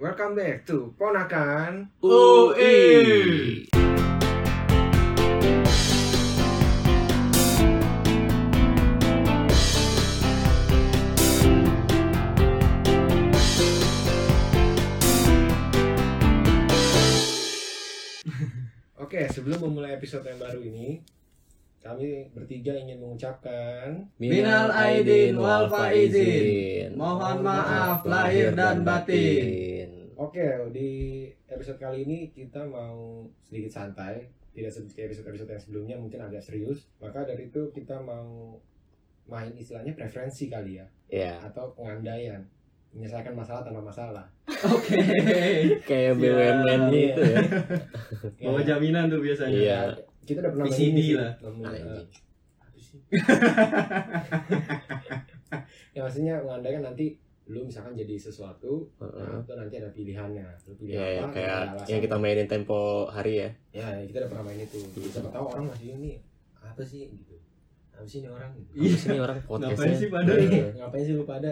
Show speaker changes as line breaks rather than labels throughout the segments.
welcome back to Ponakan.
UI.
Oke, sebelum memulai episode yang baru ini, kami bertiga ingin mengucapkan
Minal aidin wal faizin. Mohon maaf lahir dan batin.
Oke, di episode kali ini kita mau sedikit santai, tidak seperti episode-episode yang sebelumnya mungkin agak serius. Maka dari itu kita mau main istilahnya preferensi kali ya,
Ya,
atau pengandaian, menyelesaikan masalah tanpa masalah.
Oke.
kayak
Ya.
BUMN gitu ya.
Bawa
Ya,
jaminan tuh biasanya.
Iya.
Kita udah pernah main
PCD
ini sih,
lah.
namun, eh,
Anjing.
ya maksudnya mengandaikan nanti lu misalkan jadi sesuatu
Heeh.
nah, itu nanti ada pilihannya lu pilih
Ya, ya,
apa
kayak
ada alasan.
yang kita mainin tempo hari ya.
ya ya, kita udah pernah main itu
Iya.
siapa tahu orang masih ini apa sih gitu apa sih ini orang gitu
Iya.
Terus ini orang podcastnya.
Ngapain sih pada?
Iya.
ngapain sih lu pada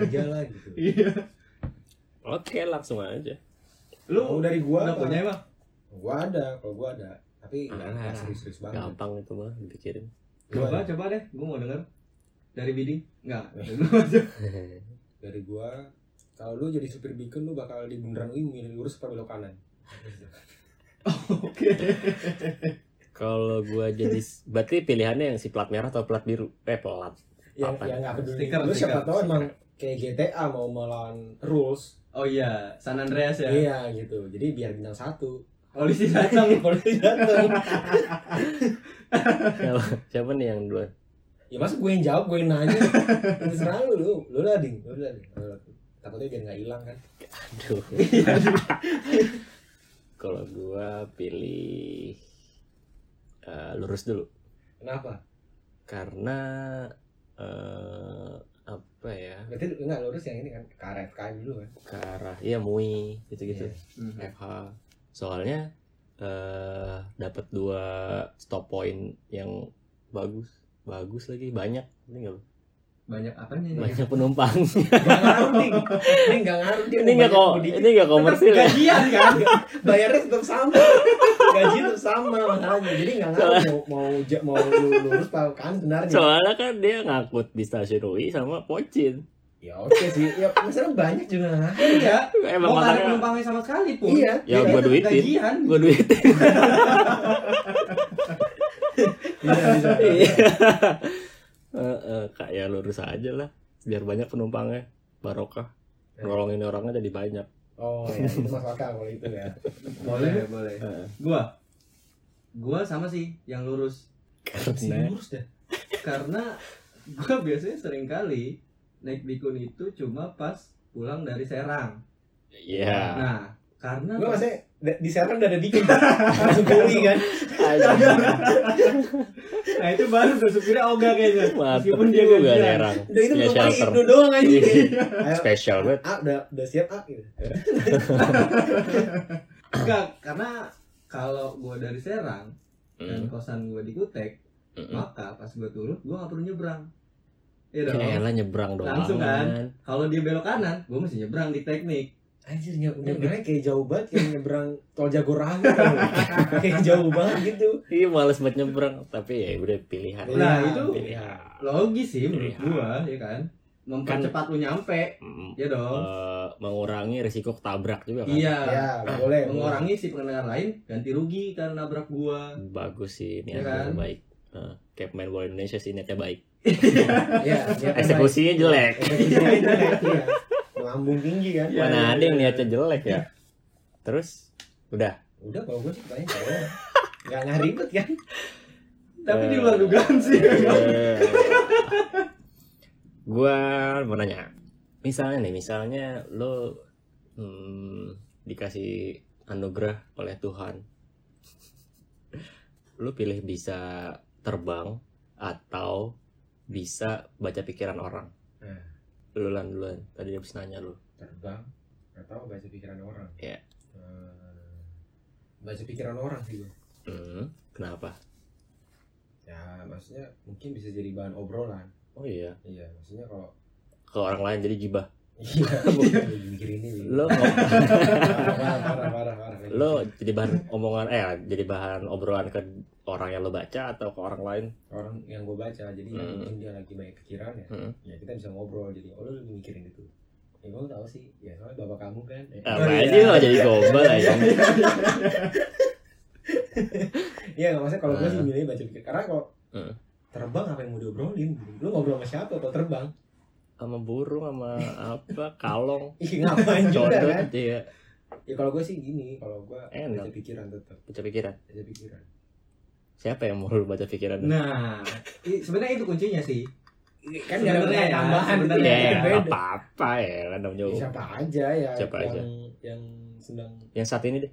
kerja lah gitu
Iya.
Oke, langsung aja.
lu
Lu
dari gua
udah
apa?
punya emang?
gua ada kalau gua ada tapi nggak
Ah.
nggak serius-serius banget
Gampang itu mah dipikirin.
Gua
Coba
ada.
coba deh, gua mau denger. Dari Bidi? Enggak.
dari gua kalau lu jadi supir beacon lu bakal di bundaran UI milih lurus apa belok kanan
Oke.
Kalau gua jadi berarti pilihannya yang si plat merah atau plat biru? Eh, plat.
yang
Apa?
yang Iya, nggak peduli
Stiker,
lu siapa
stiker,
tahu emang kayak GTA mau melawan rules
Oh iya, San Andreas ya.
iya gitu jadi biar bintang satu
Polisi datang.
polisi datang
Siapa nih yang duluan?
ya masa gue yang jawab gue yang nanya terserah lu lu lu lah ding lu lah ding Lu lah, Ding. takutnya biar nggak hilang kan
Aduh. Kalau gua pilih eh, lurus dulu
kenapa
karena eh apa ya
berarti lu- enggak lurus yang ini kan ke arah FKM dulu kan
ke arah ya MUI gitu-gitu
Iya,
Mhm.
FH soalnya eh dapat dua stop point yang bagus bagus lagi banyak ini nggak
Banyak apanya
Iya.
ini?
banyak penumpang
nggak ngaruh ding ini nggak ngaruh ding
ini nggak
Banyak
kok
mudik.
ini nggak komersil ya
Gajian kan?
bayarnya tetap sama gaji tetap sama masalahnya jadi nggak ngaruh mau mau ja- mau lu lurus tahu kan sebenarnya
soalnya kan dia ngakut di stasiun UI sama Pocin
ya oke sih ya masalah banyak juga Oh, nggak ngaruh.
Iya.
emang
Mau ada
katanya
penumpangnya sama sekali pun.
iya
Ya,
iya.
gua duitin.
Gajian.
gue duit
Iya, bisa, bisa.
gitu. Heeh, kayak lurus aja lah biar banyak penumpangnya barokah
Iya.
nolongin orangnya jadi banyak
oh ya itu masuk akal kalau itu ya
Boleh, boleh.
Heeh.
Gua gua sama sih yang lurus
karena
lurus deh
karena gua biasanya sering kali naik bikun itu cuma pas pulang dari Serang.
ya
Nah, karena
Lu maksudnya da- di Serang udah ada dingin Langsung geli kan
nah itu baru tuh supirnya ogah kayaknya.
mantep
Meskipun dia
juga
gajian. Iya.
nerang
Udah itu
Ya,
belum paling
shelter. Iya,
Ibnu doang aja Ayo
spesial banget
A udah, udah siap A gitu
Enggak, karena kalau gua dari Serang dan
Mm,
kosan gua di Kutek,
mm, mm.
maka pas gua turun gua nggak perlu nyebrang. Iya dong.
Ya elah nyebrang doang
Langsung kan? Kalau dia belok kanan, gua mesti nyebrang di teknik.
Anjir nye- nyebrangnya kayak jauh banget Kayak nyebrang tol Jagorawi kan Kayak jauh banget gitu
Iya males banget nyebrang tapi ya udah pilihan
Nah, itu-
pilihan
Logis sih menurut
Iya.
gua, ya kan? Mempercepat lu nyampe,
Mm,
ya dong.
eh, mengurangi risiko ketabrak juga kan
Iya.
Ya boleh
Mengurangi si pengendara lain ganti rugi karena nabrak gua.
bagus sih ini
Iya kan?
baik Eh, kayak pemain bola Indonesia sih niatnya baik
Iya niatnya
eksekusinya
baik.
jelek
Eksekusinya jelek iya. Melambung tinggi kan
Iya.
mana ada yang
iya.
niatnya jelek ya terus udah
Udah kalau gue sih pertanyaan jawab Gak nggak ribet kan
Tapi di
Eh,
luar dugaan sih.
Iya,
Eh, gua mau nanya misalnya nih misalnya lo hmm, dikasih anugerah oleh Tuhan lo pilih bisa terbang atau bisa baca pikiran orang
Hmm.
duluan duluan tadi habis nanya lo
Terbang Atau baca pikiran orang
Iya.
Eh, Baca pikiran orang sih gue
hmm, kenapa
Ya maksudnya mungkin bisa jadi bahan obrolan
oh iya
Iya maksudnya kalau
ke orang lain jadi gibah
Iya, bukan mikir ini.
Lo ngom-
parah, parah, parah, parah.
lo jadi bahan omongan eh jadi bahan obrolan ke orang yang lo baca atau ke orang lain
orang yang gue baca, jadi yang
Hmm.
mungkin dia lagi banyak pikiran ya,
Hmm.
ya kita bisa ngobrol. Jadi, oh lo lebih mikirin itu. Ya gue tau sih, ya soalnya bapak kamu kan. Eh,
apa aja lo jadi gombal ya? aja
iya,
Iya, nggak maksudnya kalau gue sih
Hmm.
milih baca pikir. Karena kalau
Hmm.
terbang apa yang mau diobrolin? Lu ngobrol sama siapa kalau terbang?
sama burung sama apa kalong
Ih, ngapain juga
codot iya.
kan?
dia
Ya kalau gue sih gini, kalau gue
Kan
baca
enak
pikiran tetap,
baca pikiran
baca pikiran.
siapa yang mau lo baca pikiran
Nah, i- sebenarnya itu kuncinya sih.
Kan
Sebenarnya
nggak ada
ya,
tambahan
sebenarnya.
gitu, kan
ya ya,
beda.
apa apa ya kan namanya
Ya,
juga.
siapa aja ya
Siapa
yang
aja.
yang sedang
yang saat ini deh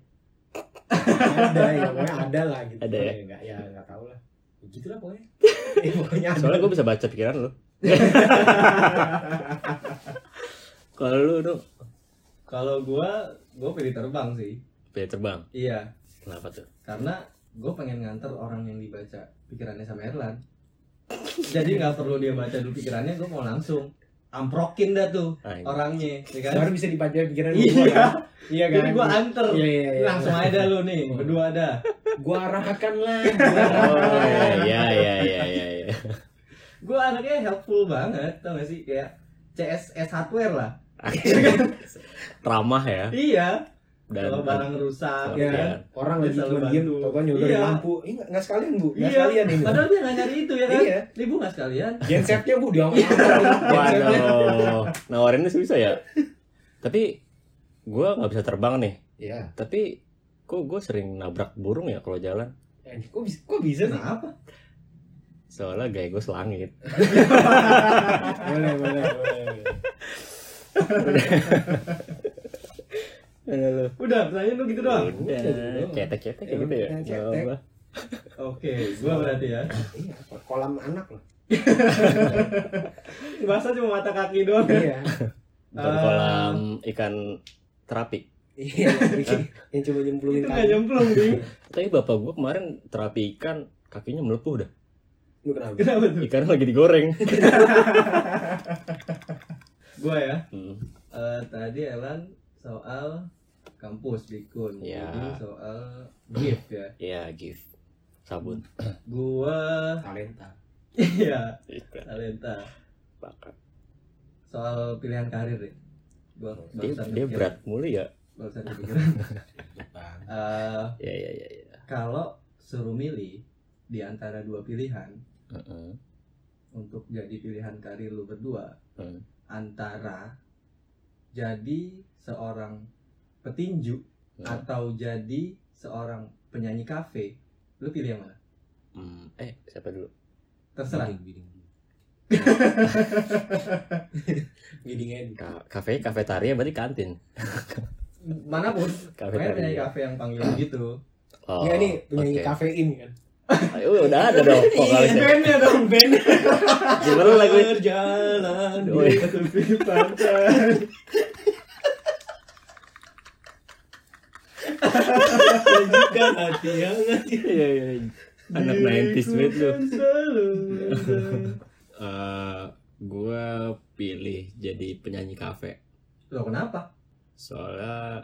ada ya pokoknya ada lah gitu
Ada ya?
nggak ya nggak tahu lah Ya, gitu lah pokoknya ya, pokoknya ada
soalnya gue bisa baca pikiran lo kalau lo dong
Kalau gua, gua pilih terbang sih.
pilih terbang
Iya,
kenapa tuh
karena gua pengen nganter orang yang dibaca pikirannya sama Erlan. Jadi nggak perlu dia baca dulu pikirannya, gua mau langsung amprokin dah tuh
Anjing.
orangnya, ya kan?
baru bisa dibaca pikiran
Iya.
gua kan? iya kan
Jadi gua anter.
iya iya iya
Langsung aja lu nih, berdua ada.
gua arahkan lah
oh
iya.
ya ya ya ya ya
Gua anaknya helpful banget, tau gak sih? Kayak CSS hardware lah.
ramah ya
Iya,
dan
kalau barang rusak,
Iya.
ya kan?
orang
Dia
lagi
selalu
cuma diem
bantu.
tau nyodorin
Iya.
lampu ini nggak nggak sekalian bu nggak
Iya.
sekalian ini
Padahal dia nggak nyari itu ya kan?
iya
Ini bu nggak sekalian.
gensetnya bu dia
Iya. Waduh, nawarinnya susah ya. Tapi gue nggak bisa terbang nih.
Iya,
Tapi kok gue sering nabrak burung ya kalau jalan.
Eh, kok bisa, kok bisa sih?
Kenapa?
Soalnya gaya gue selangit.
Boleh, boleh, boleh.
Udah, pertanyaan lu gitu doang.
Iya,
Udah, Iya. cetek-cetek ya gitu
Emang
ya.
kita
Nggak
cetek.
apa-apa.
Oke, gua berarti ya.
Iya, kolam anak lah.
Bahasa cuma mata kaki doang.
Iya.
Bukan
Ah.
kolam ikan terapi.
Iya, bikin- yang cuma nyemplungin
Itu nggak nyemplung, Bing.
Tapi bapak gue kemarin terapi ikan kakinya melepuh dah.
Lu kenapa?
Kenapa tuh?
Ikan lagi digoreng.
Gua ya.
Hmm.
Eh, tadi Elan soal kampus Bikun.
Iya.
Ini soal gift ya.
Ya gift sabun.
Gua
Talenta.
iya,
Ikan
talenta.
bakar.
Soal pilihan karir deh. Gua
Dia,
barusan
dia
kepikiran-
berat mulu ya.
barusan kepikiran. Eh,
Ya ya ya ya.
kalau suruh milih di antara dua pilihan
Heeh.
untuk jadi pilihan karir lu berdua
Hmm.
antara jadi seorang petinju
Hmm.
atau jadi seorang penyanyi kafe lu pilih yang mana
Hmm. Eh siapa dulu? Hmm.
terserah
Giling, giling. Giling
Ka- kafe kafetaria berarti kantin
mana pun pokoknya penyanyi
kafetaria
kafe yang panggilan gitu
oh,
Enggak nih, penyanyi
oke. Oh,
kafein kan.
Ayo, udah ada dong
Iya,
vokalisnya
bandnya dong band
gimana lagu
Berjalan.
Oh, iya.
tepi pantai
Tunjukkan hati yang hati.
Iya, iya, iya. anak 90s banget lu Eh, gua pilih jadi penyanyi kafe
lo kenapa
soalnya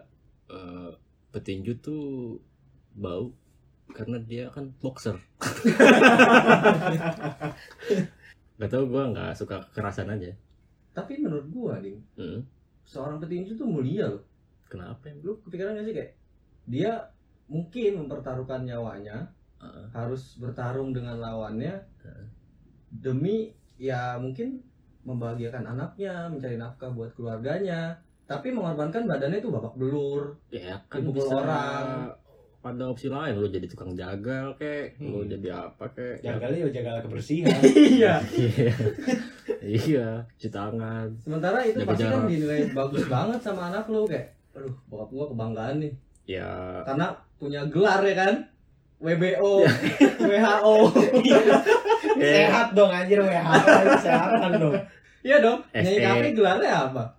eh, petinju tuh bau karena dia kan boxer Gak tau gua nggak suka kekerasan aja
tapi menurut gua ding
Hmm,
seorang petinju tuh mulia loh
kenapa emang?
lu kepikiran gak sih kayak dia mungkin mempertaruhkan nyawanya
Heeh.
harus bertarung dengan lawannya demi ya mungkin membahagiakan anaknya mencari nafkah buat keluarganya tapi mengorbankan badannya itu babak belur
ya kan
Dipukul
bisa
orang.
ada opsi lain lu jadi tukang jagal kek
Hmm.
lu jadi apa kek
Jagalnya ya jagal kebersihan.
iya
iya iya cuci tangan
sementara itu
Jaga
pasti kan
jarak.
dinilai bagus banget sama anak lu kayak aduh bokap gua kebanggaan nih
ya
karena punya gelar ya kan WBO
Ya.
WHO
Sehat dong anjir WHO kesehatan dong.
iya dong
SE.
nyanyi kafe gelarnya apa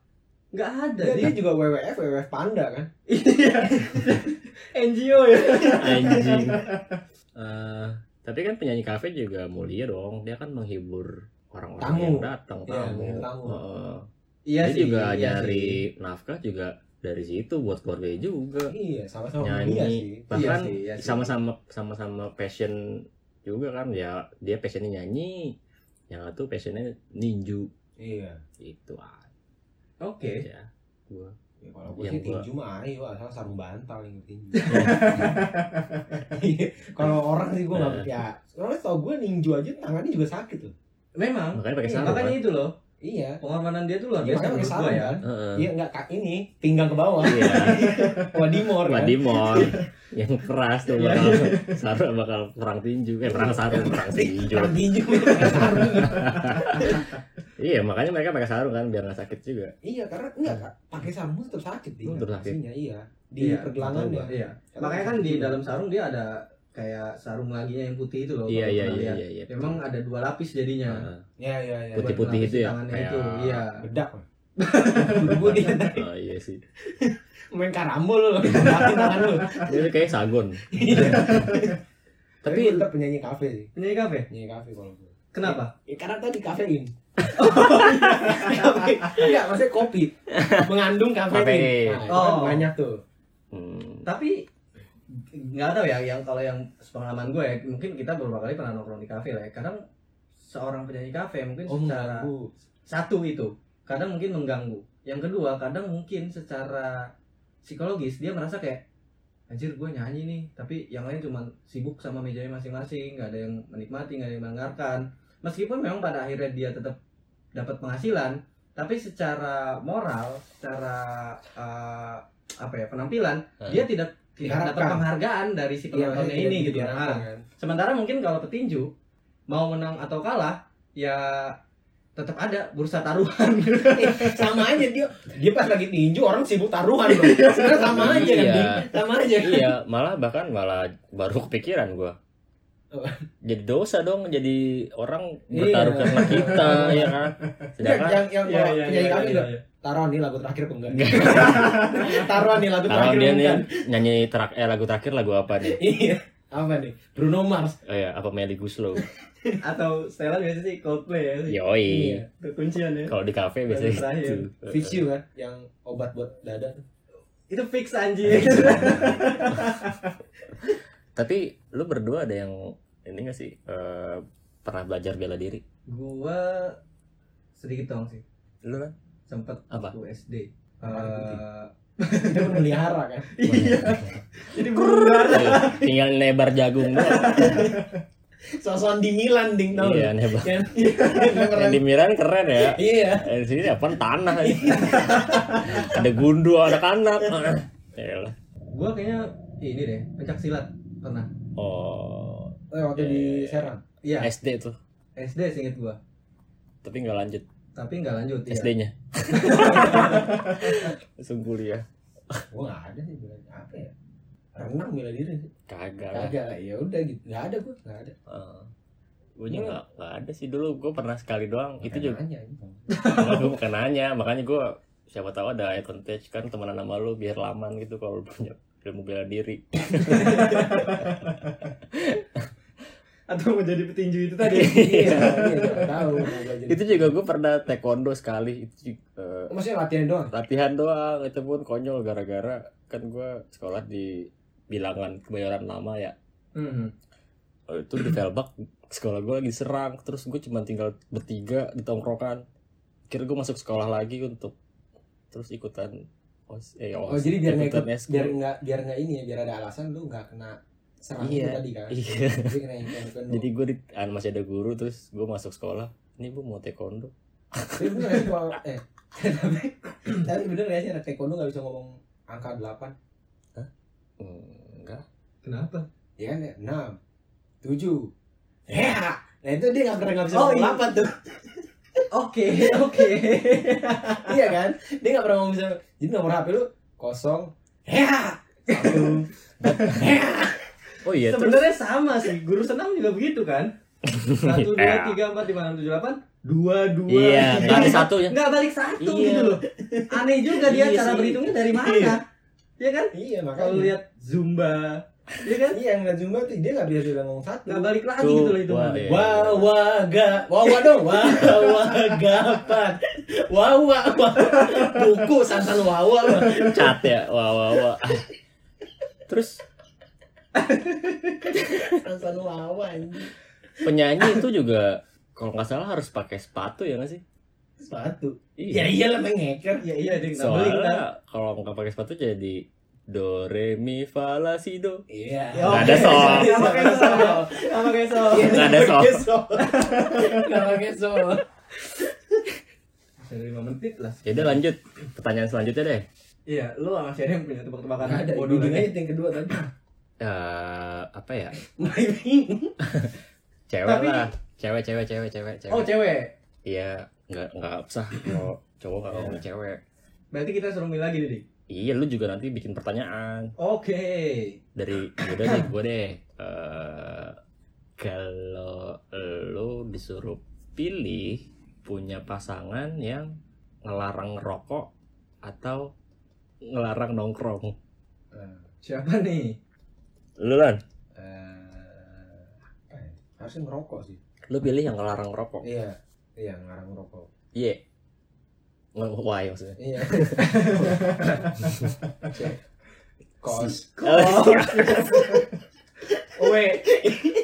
nggak ada
Dia,
Ding.
dia juga WWF, WWF Panda kan.
Iya. NGO ya.
anjing Eh, tapi kan penyanyi kafe juga mulia dong dia kan menghibur orang-orang
Tamu.
yang datang
Iya,
tamu
tamu.
Heeh.
Iya
dia
sih.
juga
iya
nyari
sih.
nafkah juga dari situ buat keluarganya juga
Iya, sama-sama
Ya,
Nyanyi.
mulia sih.
Oh, Iya
bahkan
sih, iya sih.
sama-sama sama-sama passion juga kan ya dia passionnya nyanyi yang satu passionnya ninju
Iya.
itu aja
Oke.
gua
Ya, kalau gue
Yang
sih
gua-
tinju mah ayo, asal sarung bantal yang tinju. Iya, kalau orang sih gue nggak
Nah.
percaya. Soalnya tau gue ninju aja tangannya juga sakit loh.
Memang.
makanya pakai
Iya,
sarung
Makanya
kan
itu loh.
Iya.
Pengorbanan dia tuh luar
Iya,
biasa
makanya pakai
menurut gua
sarung
ya.
kan.
Heeh.
Iya enggak kak ini pinggang ke bawah.
Iya.
Wadimor. kan?
Wadimon yang keras tuh
Iya.
bakal sarung bakal perang tinju eh perang sarung perang tinju
Perang tinju pakai sarung.
iya makanya mereka pakai sarung kan biar nggak sakit juga
Iya, karena enggak Kak. pakai sarung tetap sakit dia.
Tetap sakit.
Pastinya, Iya. Di
Iya,
pergelangan ya.
Iya. Makanya kan di dalam sarung dia ada kayak sarung laginya yang putih itu loh.
iya
kalau
iya
pernah
iya
lihat.
iya iya Ah,
Memang ada dua lapis jadinya.
Heeh.
Iya, iya, iya.
Buat
Putih-putih
lapis
itu ya?
tangannya
Kayak-
itu, Iya.
Bedak. Gue dia
Oh, iya sih
main karambol loh. Bedakin tangan lu.
jadi kayak sagon
Iya. Tapi
tapi
tetap penyanyi kafe sih.
Penyanyi kafe.
Penyanyi kafe kalau gue.
Kenapa?
Iya.
Ya, karena tadi kafein. Kafein. Iya, maksudnya kopi mengandung
Kafein.
kafein. Nah, itu kan
Oh.
banyak tuh.
Hmm,
tapi nggak tahu ya yang kalau yang pengalaman gue ya mungkin kita beberapa kali pernah nongkrong di kafe lah ya kadang seorang penyanyi kafe mungkin
Oh,
secara
mengganggu.
satu itu kadang mungkin mengganggu yang kedua kadang mungkin secara psikologis dia merasa kayak anjir gue nyanyi nih tapi yang lain cuma sibuk sama mejanya masing-masing nggak ada yang menikmati nggak ada yang mendengarkan meskipun memang pada akhirnya dia tetap dapat penghasilan tapi secara moral secara eh, apa ya penampilan
Eh.
dia tidak tidak dapat
Diharapkan.
penghargaan dari si
Iya,
penontonnya
iya,
ini
iya,
gitu
iya,
Ah.
kan.
Sementara mungkin kalau petinju mau menang atau kalah ya tetap ada bursa taruhan.
Eh, sama aja dia dia pas lagi tinju orang sibuk taruhan loh sebenarnya sama aja kan
Iya.
Dik? sama aja
iya malah bahkan malah baru kepikiran gua
Oh.
Apa?
jadi dosa dong jadi orang
Iya.
bertaruh karena kita ya kan
Iya,
sedangkan
yang yang kalau penyanyi kami juga taruhan nih lagu terakhir apa enggak taruhan nih lagu
kalau
terakhir apa
dia nih
enggak
nyanyi terak eh, lagu terakhir lagu apa nih
iya apa nih Bruno Mars
oh, ya apa Melly Guslow
Atau Stella biasanya sih Coldplay ya.
yoi
Iya.
Itu kuncian ya.
kalau di kafe
Lagu
biasanya
terakhir.
gitu
Fix You kan yang obat buat dada tuh.
Itu fix anjir.
tapi lu berdua ada yang ini gak sih eh, pernah belajar bela diri
Gua sedikit dong sih.
lu kan
Sempet
Apa?
waktu SD.
Apaan tuh, Ti?
Eh,
itu memelihara kan
iya. Jadi bubar.
tinggal nebar jagung doang
sosokan di Milan ding tau iya.
iya nebar
kan Yang keren.
yang di Miran keren ya
iya
Eh, di sini apa tanah aja. ada Ya gundu anak-anak Yaelah.
Gua kayaknya ini deh, pencak silat pernah.
oh
Eh, waktu di Serang
Iya,
SD tuh
SD singkat gua.
tapi nggak lanjut
Tapi nggak lanjut ya.
SD-nya langsung kuliah
gua nggak ada sih bilang apa ya renang bela diri sih
kagak lah
kagak ya udah gitu nggak ada gua nggak ada
gue Eh, juga nggak- nggak ada sih dulu gue pernah sekali doang itu juga
Makanya, gitu.
gue bukan nanya makanya gue siapa tahu ada eye contact kan temenan sama lu biar laman gitu kalau lu punya ilmu bela diri
Atau mau jadi petinju itu tadi.
iya iya nggak tahu mau belajar
itu juga gue pernah taekwondo sekali itu juga, eh,
maksudnya latihan doang
latihan doang itu pun konyol gara-gara kan gua sekolah di bilangan kebayoran lama ya
Hmm.
Eh, itu di Felbak sekolah gua lagi serang terus gue cuma tinggal bertiga di tongkrongan kira gue masuk sekolah lagi untuk terus ikutan os eh os
oh jadi biar nggak ikut
ikutan eskul.
biar nggak biar nggak ini ya biar ada alasan lu nggak kena serang
Iya.
itu tadi kan
iya
jadi kena yang kena
jadi gue di ah, masih ada guru terus gue masuk sekolah ini bu mau taekwondo
tapi bener nggak sih kalau eh tapi tapi bener nggak sih anak taekwondo nggak bisa ngomong angka delapan
Hmm, enggak
Kenapa?
ya kan ya? enam tujuh ya nah itu dia nggak pernah nggak bisa
Oh,
ngomong
iya.
delapan tuh
Oke, oke.
iya kan dia nggak pernah ngomong bisa jadi nomor hp lu kosong ya satu
oh iya terus
Sebenarnya sama sih. Guru senam juga begitu kan? Satu, dua, tiga, empat, lima, enam, tujuh, delapan. Dua, dua.
iya nggak ada
tiga.
satunya
Nggak balik satu
Iya.
gitu loh. Aneh juga dia
Iya
cara
sih.
berhitungnya dari mana? Iya kan?
iya
Kalau
makanya
lihat zumba, Iya kan?
Iya yang ngeliat Zumba tuh dia nggak biasa bilang ngomong satu.
Nggak balik lagi gitu loh itu.
Wah, iya.
Wah wah ga wah wah dong wah wah gapat
iya.
wah wah wah buku santan wah wah wah.
cat ya wah wah wah terus
santan wah wah anjing.
penyanyi itu juga kalau nggak salah harus pakai sepatu ya nggak sih
sepatu ya
iya
iyalah mengeker
Iya iya ding, nggak balik kan.
soalnya kalau nggak pakai sepatu jadi do re mi fa la si do
iya
Ya,
Nggak
oke.
ada song.
Sama kayak song. Sama kayak song.
Nggak ada soal.
nggak pakai soal
Dari 5 menit lah.
jadi Ya lanjut pertanyaan selanjutnya deh
Iya, lu sama si yang punya tebak-tebakan
nggak ada
bodoh
ujung
lagi.
aja yang kedua tadi
Eh, apa ya
Mulai bingung.
cewek
Tapi-
lah cewek cewek cewek cewek cewek
Oh, cewek.
iya nggak nggak usah kalau cowok kalau ngomong cewek
Berarti kita suruh milih lagi nih, Ding.
iya lu juga nanti bikin pertanyaan
Oke.
dari gue deh gue deh Eh, kalau lu disuruh pilih punya pasangan yang ngelarang rokok atau ngelarang nongkrong
Siapa nih?
lu lan
Eh, apa ya? harusnya ngerokok sih.
lu pilih yang ngelarang rokok
Iya, iya ngarang ngerokok.
iya Nge- why maksudnya
Iya. Kos.
Oh,
Oh, wait.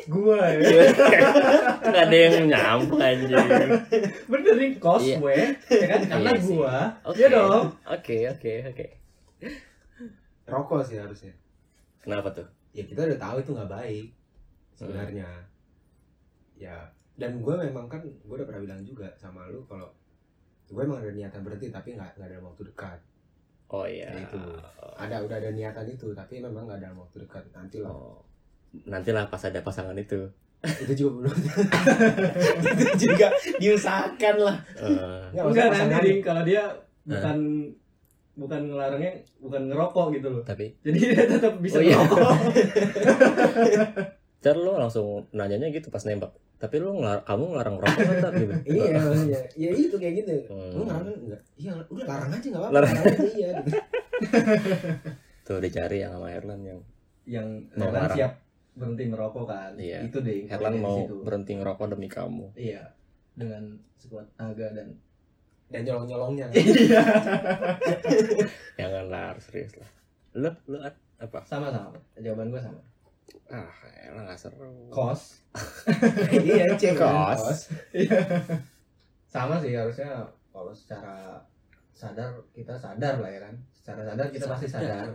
Gua ya.
iya. nggak ada yang nyampe anjing
Bener nih kos
Iya.
gue, ya kan? Karena
Iya sih.
gua.
oke
Iya dong.
oke oke oke
Rokok sih harusnya.
kenapa tuh
Ya kita udah tahu itu nggak baik sebenarnya. Ya dan gue memang kan gue udah pernah bilang juga sama lu kalau gue emang ada niatan berhenti tapi nggak nggak dalam waktu dekat.
oh iya
Ya, itu. Ada udah ada niatan itu tapi memang nggak dalam waktu dekat nanti lah.
oh. nantilah pas ada pasangan itu
Itu juga belum.
itu juga diusahakan lah
Eh,
Nggak,
Enggak
maksudnya
nanti
pasangan.
Ding, kalau dia bukan bukan ngelarangnya, bukan ngerokok gitu loh.
tapi
Jadi dia tetap bisa
Oh, iya.
ngerokok.
Ntar lo langsung nanyanya gitu pas nembak. Tapi lo ngelar kamu ngelarang rokok kan Tat?" gitu.
Iya maksudnya. Ya itu kayak gitu.
Hmm.
Lu ngarang kan enggak? Iya, udah larang aja enggak apa-apa.
Larang.
Larang aja iya gitu.
Tuh udah cari yang sama Herlan yang
Yang
Mau
Herlan
larang.
siap berhenti merokok kan.
Iya.
Itu deh.
Herlan
poinnya di
mau
situ.
berhenti ngerokok demi kamu.
Iya. Dengan sekuat naga dan
Dan nyolong-nyolongnya.
Iya, Jangan lah, serius lah. Lo lo At? apa?
sama-sama. Jawaban gua sama.
Ah, elah gak seru.
Kos.
Iya, cewek.
Kos.
Sama sih harusnya kalau secara sadar kita sadar lah ya kan. Secara sadar kita pasti sadar.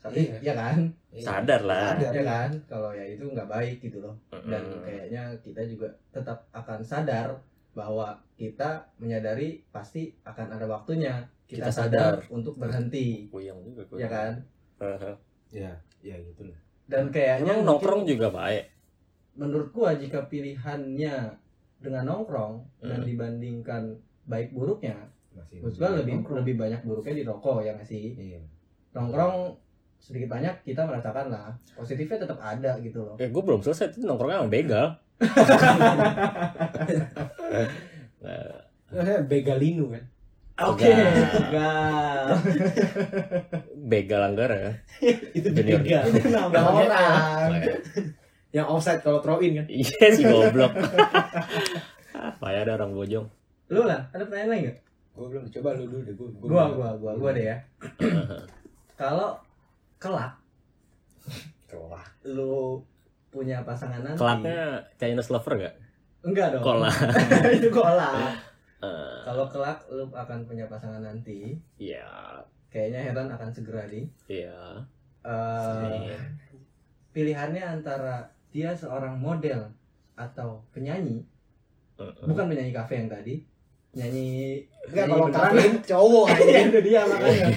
Tapi ya kan?
Iya.
Iya.
Sadar Hmm. lah.
Sadar.
ya kan kalau ya itu nggak baik gitu loh dan
Mm-mm.
kayaknya kita juga tetap akan sadar bahwa kita menyadari pasti akan ada waktunya kita,
Kita sadar.
sadar, untuk berhenti
Kuyang juga gue.
ya kan
Heeh.
Iya, iya gitu lah.
dan kayaknya
Emang
mungkin
nongkrong juga baik.
menurut gua jika pilihannya dengan nongkrong dan
Mm.
dibandingkan baik buruknya
Masih.
menurut
Iya,
gua lebih lebih banyak buruknya di rokok ya nggak sih
Iya.
nongkrong sedikit banyak kita merasakan lah positifnya tetap ada gitu loh
Ya gue belum selesai tuh nongkrongnya sama begal. Nah,
Iya, Maksudnya begalinu kan.
Oke.
Enggak.
begal anggara ya.
itu
Junior.
tiga
itu nama orang
Yang offside kalau throw in kan.
Iya sih goblok. Payah ada orang bojong.
lu lah ada pertanyaan lain nggak
Gua belum coba lu dulu deh gua.
gua gua gua gua deh ya kalau kelak
Kelak.
lu punya pasangan nanti
Kelaknya Chinese lover gak?
enggak dong
Kolak.
itu kolak
Eh,
kalau kelak lu akan punya pasangan nanti
Iya,
kayaknya Heran akan segera di
iya.
Eh,
Iya.
pilihannya antara dia seorang model atau penyanyi
Heeh.
bukan penyanyi kafe yang tadi nyanyi
Enggak
nyanyi
kalau
beneran.
kalian cowok aja.
Iya, itu dia makanya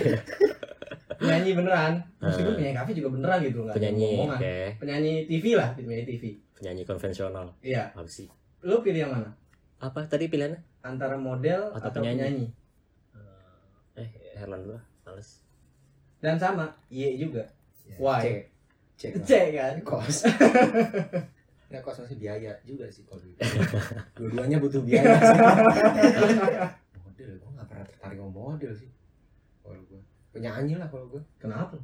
penyanyi beneran meskipun
Hmm.
penyanyi kafe juga beneran gitu nggak ada
penyanyi,
omongan.
oke.
penyanyi TV lah penyanyi TV
Penyanyi konvensional.
iya
Apa sih?
lu pilih yang mana
Apa tadi pilihannya?
antara model atau,
Atau
penyanyi.
penyanyi. Eh, Herlan dulu. Males.
dan sama Y juga
Ya,
Why?
Cek. Cek.
C
lah.
kan
Kos. Enggak kos masih biaya juga sih kalau gitu. Dua-duanya butuh biaya. sih. model gua enggak pernah tertarik sama model sih. Kalau gua Ya penyanyi lah kalau gua.
kenapa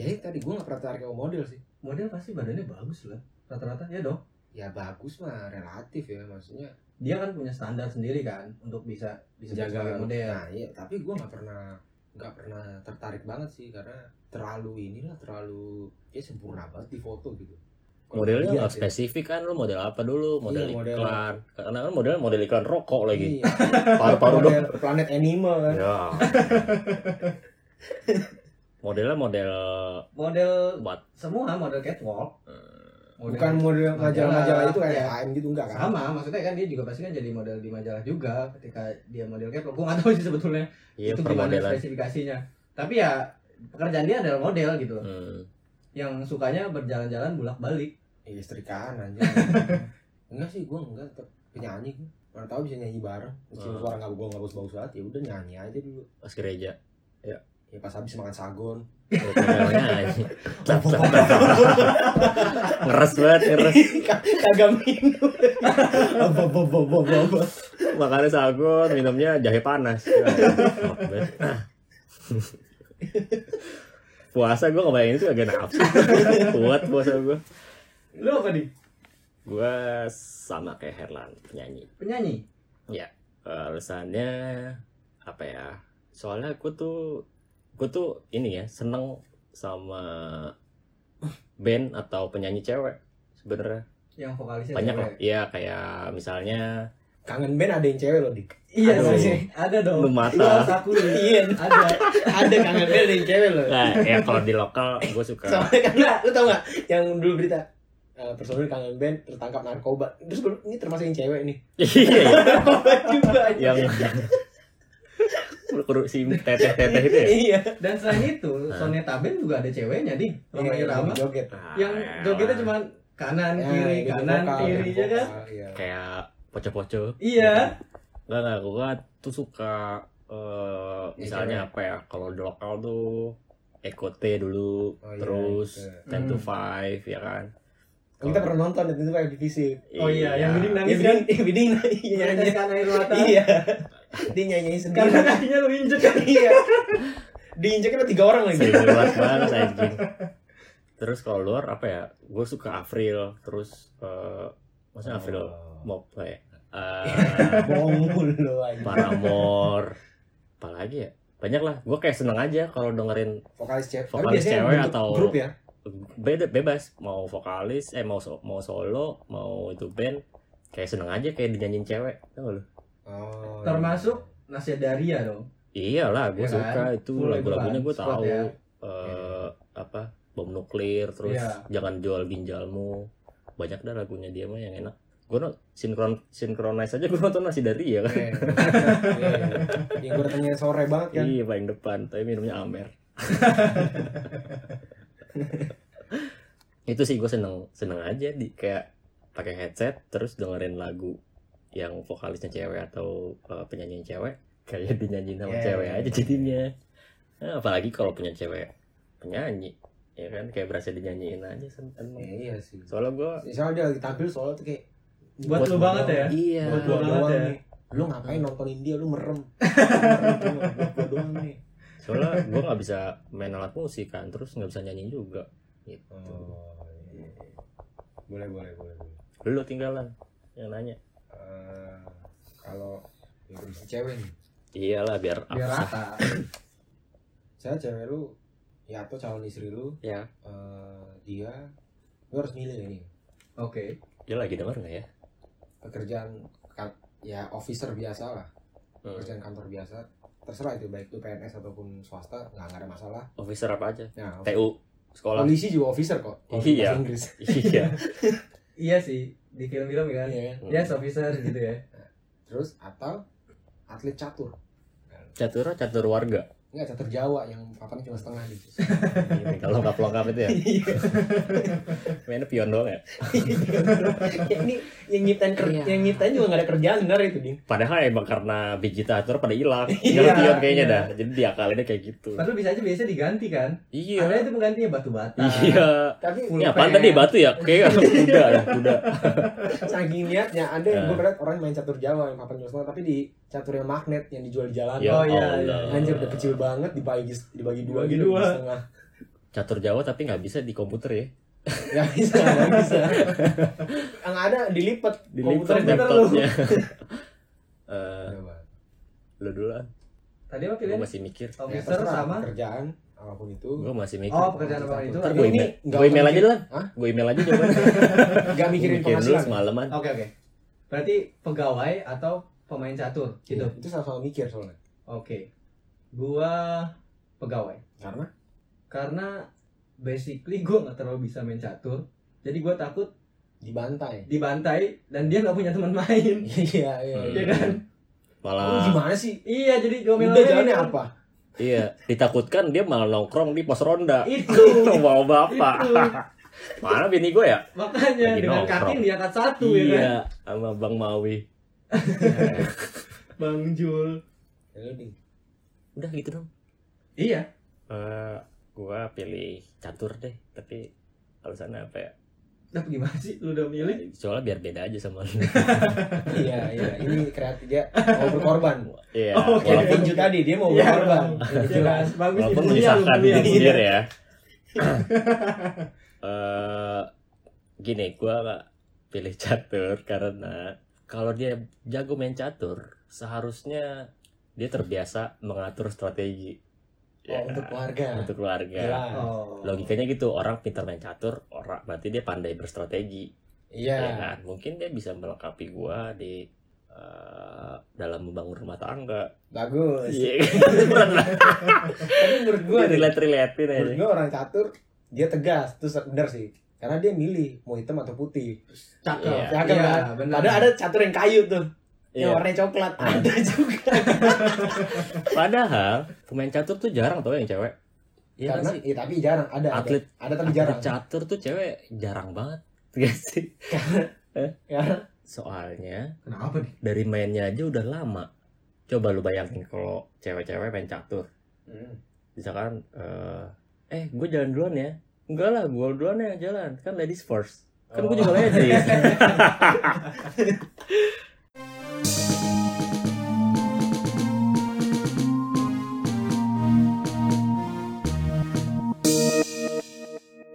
Jadi tadi gua enggak pernah tertarik sama model sih.
model pasti badannya bagus lah rata-rata ya dong
ya bagus mah relatif ya maksudnya
dia kan punya standar sendiri kan untuk bisa bisa jaga model
nah iya tapi gue nggak pernah nggak pernah tertarik banget sih karena terlalu inilah terlalu ya sempurna banget di foto gitu Kalau
modelnya
dilihat
nggak
ya.
spesifik kan lo model apa dulu model
Iya, model.
iklan karena kan model model iklan rokok lagi
Iya.
paru-paru dong
model planet animal kan
ya modelnya model
model
buat
semua model catwalk
eh,
Model-
bukan model majalah-majalah itu kayak
Iya.
AM gitu enggak kan
sama maksudnya kan dia juga pasti kan jadi model di majalah juga ketika dia model catwalk gue nggak tahu sih sebetulnya
iya
itu gimana
permodelan
spesifikasinya tapi ya pekerjaan dia adalah model gitu loh
hmm.
yang sukanya berjalan-jalan bolak-balik
iya setrikaan aja enggak sih gue enggak tetap penyanyi gue mana tahu bisa nyanyi bareng meskipun
Hmm.
suara nggak gue nggak bagus-bagus banget ya udah nyanyi aja dulu
pas gereja
ya pas habis makan sagon
Lihat modelnya aja. Tap, tap, tap, tap. ngeres banget ngeres
kagak minum
Bo- bo- bo- bo- bo- bo.
makannya sagu minumnya jahe panas Nah. Ya, enak banget. puasa gue kebayangin itu agak nafsu kuat puasa gue
lu apa nih
gue sama kayak Herlan penyanyi
penyanyi
Eh, alasannya apa ya soalnya gue tuh gue tuh ini ya seneng sama band atau penyanyi cewek sebenarnya
yang vokalisnya
banyak
cewek.
lah iya kayak misalnya
kangen band ada yang cewek loh dik
iya
Aduh.
sih ada dong
Lumata.
lu harus aku
iya
ada
ada kangen bel yang cewek loh
nah, ya kalau di lokal gue suka
soalnya kan lu tau gak yang dulu berita
Eh, personil kangen band tertangkap narkoba terus gue ini termasuk yang cewek nih
juga
iya yang Kuru- si teteh-teteh itu ya
iya
dan selain itu
Hah?
Soneta Band juga ada ceweknya di
Iya,
ramai ramai
joget
Ah,
yang
iya. Nah,
jogetnya cuma kanan kiri
Ya,
kanan
vokal,
kiri ya kan
vokal, iya.
kayak poco-poco
iya
Enggak, enggak, gua tuh suka eh misalnya apa ya, kalau di lokal tuh Ekote dulu,
Oh, iya,
terus
iya.
10 to
Hmm.
5 ya kan.
kita pernah nonton dan itu kayak di fisik
oh iya yang
ya
bening nangis kan
biding biding iya
nyanyi kan air mata
iya dia nyanyi sendiri
karena kakinya lu injek kan
iya diinjek sama tiga orang lagi
Sering luas banget anjing. Terus kalau luar apa ya? Gue suka Avril, terus eh maksudnya Avril
Oh.
mau apa ya? Eh,
bohong mulu aja
Paramore. Apalagi ya? Banyak lah. Gue kayak seneng aja kalau dengerin
vokalis cewek Tapi
Vokalis
biasanya
cewek
bentuk
atau-
grup ya
beda bebas mau vokalis eh mau so- mau solo mau itu band kayak seneng aja kayak dinyanyiin cewek tau nggak lu
Oh, iya.
Termasuk? Nasya Daria dong
iyalah gue
Iya kan?
suka itu
Full
lagu-lagunya
itu kan,
gue
squad
tahu
ya.
eh, apa bom nuklir terus
Iya.
jangan jual ginjalmu banyak dah lagunya dia mah yang enak gue no, sinkron sinkronize aja gue nonton nasi dari ya kan
Iya, iya, iya. yang gue datangnya sore banget kan
iya paling depan tapi minumnya amer itu sih gue seneng seneng aja di kayak pakai headset terus dengerin lagu yang vokalisnya cewek atau uh, penyanyinya cewek kayak dinyanyiin sama
Yeah.
cewek aja jadinya Nah, apalagi kalau punya cewek penyanyi ya kan kayak berasa dinyanyiin aja sen-
Iya,
seneng
iya sih
soalnya gue
misalnya dia lagi tampil soalnya tuh kayak
Buat lu
gua
banget
doang.
ya?
iya
buat gua
Buat lu
doang
banget ya?
nih lu ngapain nontonin dia lu merem Merem tuh, buat gua doang nih
soalnya gue nggak bisa main alat musik kan terus nggak bisa nyanyi juga gitu
Oh, iya. boleh boleh boleh boleh.
lu tinggalan yang nanya
Eh, kalau yang berisi cewek nih
iyalah biar
biar
absah
rata
saya cewek lu ya atau calon istri lu
Ya.
eh, dia lu harus milih ini
oke
dia lagi denger nggak ya
pekerjaan ka- ya officer biasa lah
hmm.
pekerjaan kantor biasa terserah itu baik itu PNS ataupun swasta nggak nggak ada masalah
officer apa aja
nah
TU sekolah
polisi juga officer kok kalau di
Iya.
bahasa Inggris
iya
iya sih di film-film kan
Iya kan?
ya officer gitu ya
terus atau atlet catur
catur catur warga
nggak catur Jawa yang papan cuma setengah gitu
kalau lengkap lengkap itu ya
Iya.
mainnya pion doang ya
Ya, ini yang nyiptain ker-
Iya.
yang nyiptain juga gak ada kerjaan benar itu ding
padahal emang karena biji catur pada hilang
Iya,
iya, pion kayaknya
iya.
dah jadi diakalinnya kayak gitu
padahal bisa aja biasanya diganti kan
iya
karena itu penggantinya batu bata
iya
tapi
Full
ini apaan
pen.
tadi batu ya kayak kuda ya kuda
saking niatnya ada yang gue
Eh.
liat orang main catur Jawa yang papan cuma setengah tapi di catur yang magnet yang dijual di jalan
ya
Oh, iya, iya.
Allah
anjir udah kecil banget dibagi dibagi dua
Dibagi
gitu
dua.
di setengah
catur Jawa tapi nggak bisa di komputer ya
Gak bisa, gak bisa. Yang ada dilipat.
Dilipat
Komputer lu.
laptopnya. Eh, lu dulu lah.
Tadi apa
Gue
pilihan?
masih mikir.
Ya, terserah,
Officer Iya, sama
Kerjaan apapun itu.
Gue masih mikir.
Oh, pekerjaan apa itu?
Ntar
Tapi
gue
ini
email,
nggak
gue email aja
mungkin.
lah.
Hah?
Gue email aja coba.
Gak mikirin
Mikirin dulu
penghasilan.
semalaman.
Oke oke. Berarti pegawai atau pemain catur gitu.
Iya, Itu sama-sama mikir soalnya.
Oke. Gua pegawai.
Karena
Karena basically gua nggak terlalu bisa main catur. Jadi gua takut
dibantai.
dibantai dan dia nggak punya teman main.
Iya, iya.
Hmm.
Iya kan?
Lu
Malah
Oh, gimana sih?
Iya, jadi gua
Udah jalannya
main
apa?
iya, ditakutkan dia malah nongkrong di pos
Iya.
ronda.
Itu.
Bawa bapak.
Itu.
Mana bini gue ya?
Makanya
Lagi
dengan
nongkrong.
kaki yang diangkat satu ya kan.
Iya, sama Bang Mawi. Eh,
Bang Jul.
Ya, lu ding.
Udah gitu dong.
Iya.
Eh, gua pilih catur deh, tapi alasannya apa ya?
Tapi gimana sih lu udah milih?
Soalnya biar beda aja sama lu.
Iya, iya. Ini kreatif ya. Mau berkorban.
Iya,
Kayak
Oke.
walaupun
tinju tadi dia mau
Iya,
berkorban.
Iya,
Itu jelas.
bagus Iya,
walaupun
intinya lu
menyusahkan
milih
diri
yang bener.
sendiri ya. Eh, gini, gua pilih catur karena kalau dia jago main catur, seharusnya dia terbiasa mengatur strategi. Iya.
Oh, untuk keluarga. Iya.
untuk keluarga.
Jelas.
Oh.
Logikanya gitu, orang pintar main catur, orang berarti dia pandai berstrategi.
Iya.
ya kan? mungkin dia bisa melengkapi gua di eh, dalam membangun rumah tangga
Bagus.
Iya, berat lah
Tapi menurut gua deh,
relate relatein aja
menurut gua orang catur dia tegas, terus bener sih. Karena dia milih mau hitam atau putih.
Cakep.
Iya.
Cakep
Iya,
kan?
benar.
Padahal ada catur yang kayu tuh,
Iya.
yang warnanya coklat. Ada juga.
padahal pemain catur tuh jarang tau yang cewek Iya kan
Karena,
sih?
iya, tapi jarang ada. ada.
atlet
Ada tapi
atlet
jarang. kan?
catur tuh cewek jarang banget Iya sih Eh,
Karena
soalnya
Kenapa nih?
dari mainnya aja udah lama coba lu bayangin kalau cewek-cewek main catur
Hmm.
misalkan eh, eh gue jalan duluan ya enggak lah gue Kan
Oh.
duluan yang jalan kan ladies first kan gue juga ladies